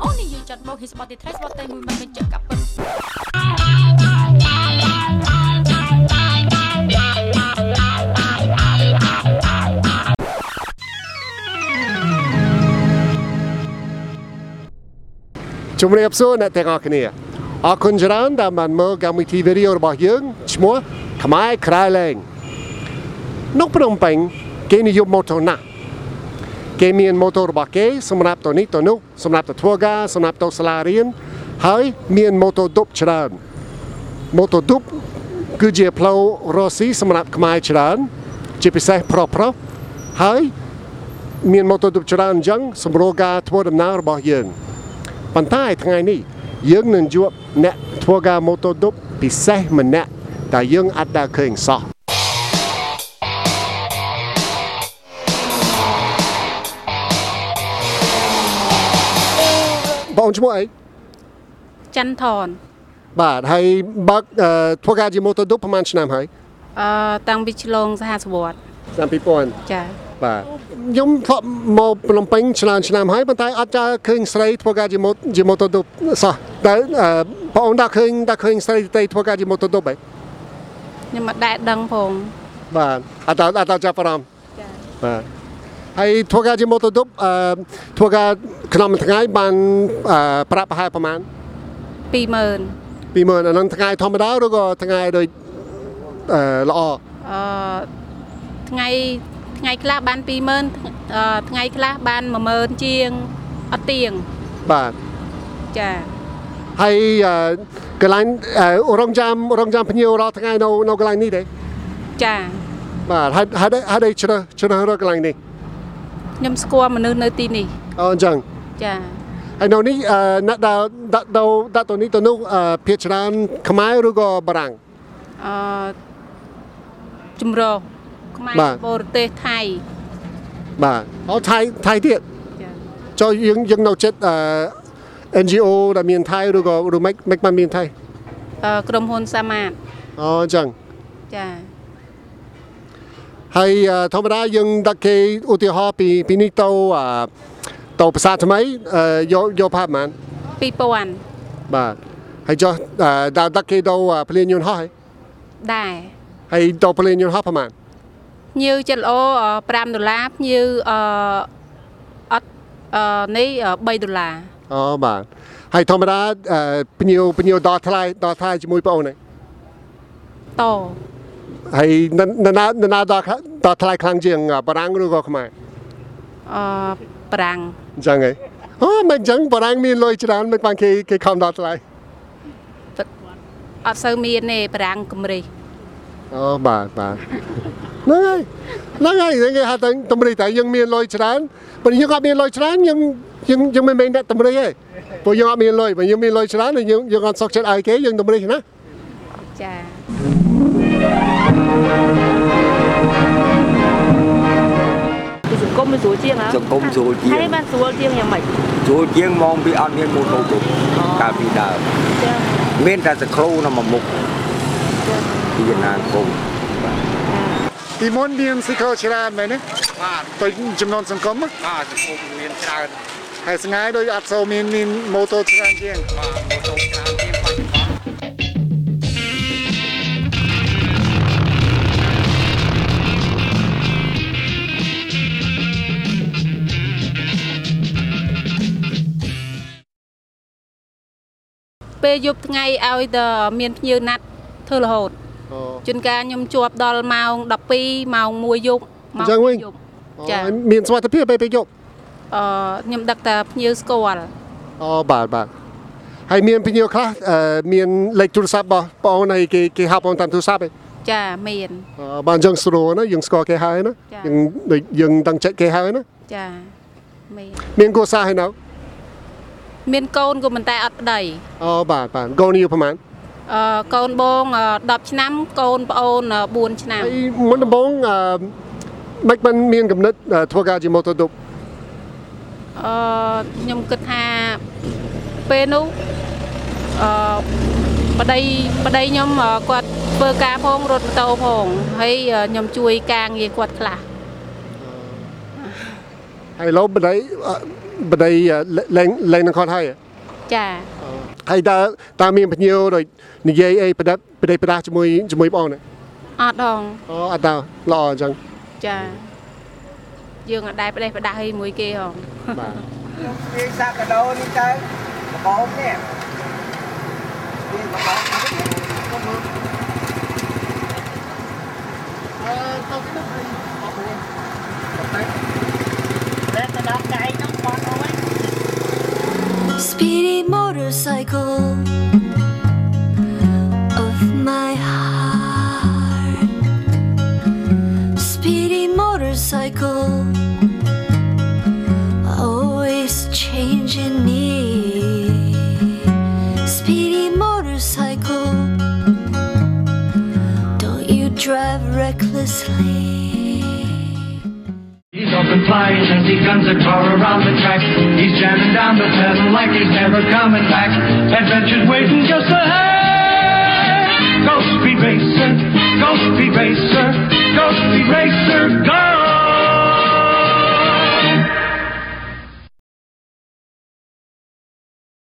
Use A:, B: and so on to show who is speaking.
A: ហ៊ីស្បតទីត្រៃស្បតតែមួយមិនបញ្ជាក់កាប់ពិត
B: ជំរាបសួរអ្នកទាំងអស់គ្នាអរគុណច្រើនដែលបានមើលកម្មវិធីវីដេអូរបស់យើងឈ្មោះខ្មែរក្រៅលែងនៅភ្នំពេញគេនិយមម៉ូតូណាស់គេមានម៉ូតូរបស់គេសម្រាប់ទៅនេះទៅនោះសម្រាប់ទៅធ្វើការសម្រាប់ទៅសាលារៀនហើយមានម៉ូតូឌុបច្រើនម៉ូតូឌុបគឺជាផ្លូវរស់ស៊ីសម្រាប់ខ្មែរច្រើន ជាពិសេសប្រុសប្រុសៗហើយមានម៉ូតូឌុបច្រើនអញ្ចឹងសម្រួលការធ្វើដំណើររបស់យើង ប៉ុន្តែថ្ងៃនេះយើងនឹងជួបអ្នកធ្វើការម៉ូតូឌុបពិសេសម្នាក់តែលយើងអត់ដែលឃើញសោះបងឈ្មោះអី
A: ច័ន្ទថន
B: បាទហើយបើកអឺធ្វើការជាម៉ូតូឌុបប្រហែលឆ្នាំហើយ
A: អឺតាំងពីឆ្លងសហសវត្ត
B: ឆ្នាំ
A: ចា
B: 2000បាទខ្ញុំធ្លាប់មកភ្នំពេញឆ្នាំឆ្នាំហើយប៉ុន្តែអត់ដែលឃើញស្រីធ្វើការជាម៉ូតជាម៉ូតូឌុបសោះតែអឺបងអូនដល់ឃើញដល់ឃើញស្រីទីធ្វើការជាម៉ូតូឌុបហី
A: ខ្ញុំមិនដែលដឹងផង
B: បាទអត់ដល់អត់ដល់ចាប់អារម្មណ៍បាទហើយធ្វើការជាម៉ូតូឌុបអឺធ្វើការក្នុងមួយថ្ងៃបានអឺប្រាក់ប្រហែលប្រហែល
A: 20000
B: 20000អាហ្នឹងថ្ងៃធម្មតាឬក៏ថ្ងៃដូចអឺល្អ
A: អឺថ្ងៃថ្ងៃខ្លះបាន20000អឺថ្ងៃខ្លះបាន10000ជាងអត់ទៀង
B: បាទ
A: ចា
B: ហើយកន្លែងអឺរងចាំរងចាំភ្ញៀវរាល់ថ្ងៃនៅនៅកន្លែងនេះទេ
A: ចា
B: បាទហើយហើយហើយឲ្យជ្រើសជ្រើសរើសកន្លែងនេះ
A: ខ្ញុំស្គាល់មនុស្សនៅទីនេះ
B: អូអញ្ចឹង
A: ចា
B: ហើយនៅនេះអឺអ្នកដែលដាក់ទៅដាក់ទៅនេះទៅនោះអឺភាគច្រើនខ្មែរឬក៏បារាំង
A: អឺជំរោខ្មែរ
B: បាទ
A: បរទេសថៃ
B: បាទអូថៃថៃទៀត
A: ចា
B: ចូលយើងយើងនៅចិត្តអឺ NGO ដែលមានថៃឬក៏ឬមិនមិនបានមានថៃ
A: អឺក្រុមហ៊ុនសាមាត
B: អូអញ្ចឹង
A: ចា
B: ហើយអឺធម្មតាយើងដាក់គេឧទាហរណ៍ពីពីនេះទៅអឺទៅភាសាថ្មីអឺយកយកផាប់ហ្មង
A: 2000
B: បាទហើយចុះអឺដល់ដាក់គេទៅអឺភ្លេងយន្តហោះហើយ
A: ដែរ
B: ហើយទៅភ្លេងយន្តហោះប្រហែល
A: ញៀវចិត្តល្អអឺ5ដុល្លារញៀវអឺអត់អឺនេះអឺ3ដុល្លារ
B: អូបាទហើយធម្មតាអឺភ្ញៀវភ្ញៀវដល់ថ្លៃដល់ថ្លៃជាមួយបងអូនហើយ
A: ត
B: ហើយននរណានរណាដល់ដល់ថ្លៃខ្លាំងជាងអឺបារាំងឬក៏ខ្មែរ
A: អឺប្រាំង
B: អញ្ចឹងហីអូមិនអញ្ចឹងបារាំងមានលុយច្រើនមិនបានគេគេខំដល់ថ្លៃ
A: អត់សូវមានទេប្រាំងកំរិះ
B: អូបាទបាទហ្នឹងហើយហ្នឹងហើយហ្នឹងគេហៅតែតម្រៃតែយើងមានលុយច្រើនបើយើងអត់មានលុយច្រើនយើងយើងយើងមិនមែនអ្នកតម្រៃទេព្រោះយើងអត់មានលុយបើយើងមានលុយច្រើនហើយយើងយើងអត់សុខចិត្តឲ្យគេយើងតម្រៃណា
A: ចា
C: ពីសង្គមវាស្រួលជាងហ៎
D: សង្គមស្រួលជាង
C: ហើយបានស្រួលជាងយ៉ាងម៉េច
D: ចូលជាងមកពីអត់មានម៉ូតូទុកកាលពីដើម
C: ចា
D: មានតែសក្រូនៅមួយមុខពីអនាគត
B: ពីមុនមានសិកលច្រើនមែនទេ
E: បាទ
B: ទៅចំនួនសង្គម
E: បាទសង្គមមានច្រើន
B: ហើយស្ងាយដោយអត់សូវមានមានម៉ូតូច្រើនជាង
E: បាទម៉ូតូច្រើនជាងបច្ចុប្បន្ន
A: ពេលយប់ថ្ងៃឲ្យតែមានភ្ញៀវណាត់ធ្វើរហូត
B: អូ
A: ជួនកាលខ្ញុំជាប់ដល់ម៉ោង12ម៉ោង1យប់ម៉ោ
B: អញ្ចឹងវិញ
A: ពីរយប់ ចា៎
B: ចាមានសុខភាពពេលពេលយប់
A: អឺខ្ញុំដឹកតែភ្ញៀវស្គាល់
B: អូបាទបាទហើយមានភ្ញៀវខ្លះអឺមានលេខទូរស័ព្ទរបស់បងអូនហើយគេគេហៅបងតាមទូរស័ព្ទឯង
A: ចាមាន
B: អឺបានយើងស្រួលណាយើងស្គាល់គេហើយណា
A: ចា៎
B: យើងដូចយើងតាំងចិត្តគេហើយណា
A: ចាមាន
B: មានគូសារហើយនៅ
A: មានកូនក៏មិនតែអត់ប្តី
B: អូបាទបាទកូនយូរប្រហែល
A: អឺកូនបងអឺ10ឆ្នាំកូនប្អូនអឺ4ឆ្នាំ
B: ហើយមុនដំបូងអឺមិនបានមានកំណត់អឺធ្វើការជាម៉ូតូឌុប
A: អឺខ្ញុំគិតថាពេលនោះអឺប្តីប្តីខ្ញុំអឺគាត់ធ្វើការផងរត់ម៉ូតូផងហើយអឺខ្ញុំជួយការងារគាត់ខ្លះ
B: ហើយឥឡូវបណ្ដៃបណ្ដៃអឺលេងលេងនឹងគាត់ហើយហ៎
A: អ ចា
B: ហើយតើតើមានភ្ញៀវដូចនិយាយអីប្រដាប់ប្រដេប្រដាស់ជាមួយជាមួយបងណា
A: អត់ហង
B: អូអត់តើល្អអញ្ចឹង
A: ចាយើងអត់ដែរផ្ដេសផ្ដាស់អីមួយគេហង
B: បាទ
E: វាសាក់កដោនេះទៅកបោកនេះវាកបោកនេះក៏មើលអឺទៅទៅអត់ទេតែតែទៅដល់ដៃនោះបងអើយ
F: speedy motorcycle of my heart. Speedy motorcycle, always changing me. Speedy motorcycle, don't you drive recklessly?
G: He's off and flying as he guns a car around the track. He's jamming down the pedal like he's never coming back. Adventure's waiting just ahead. Go speed racer, go speed racer, go speed racer, go!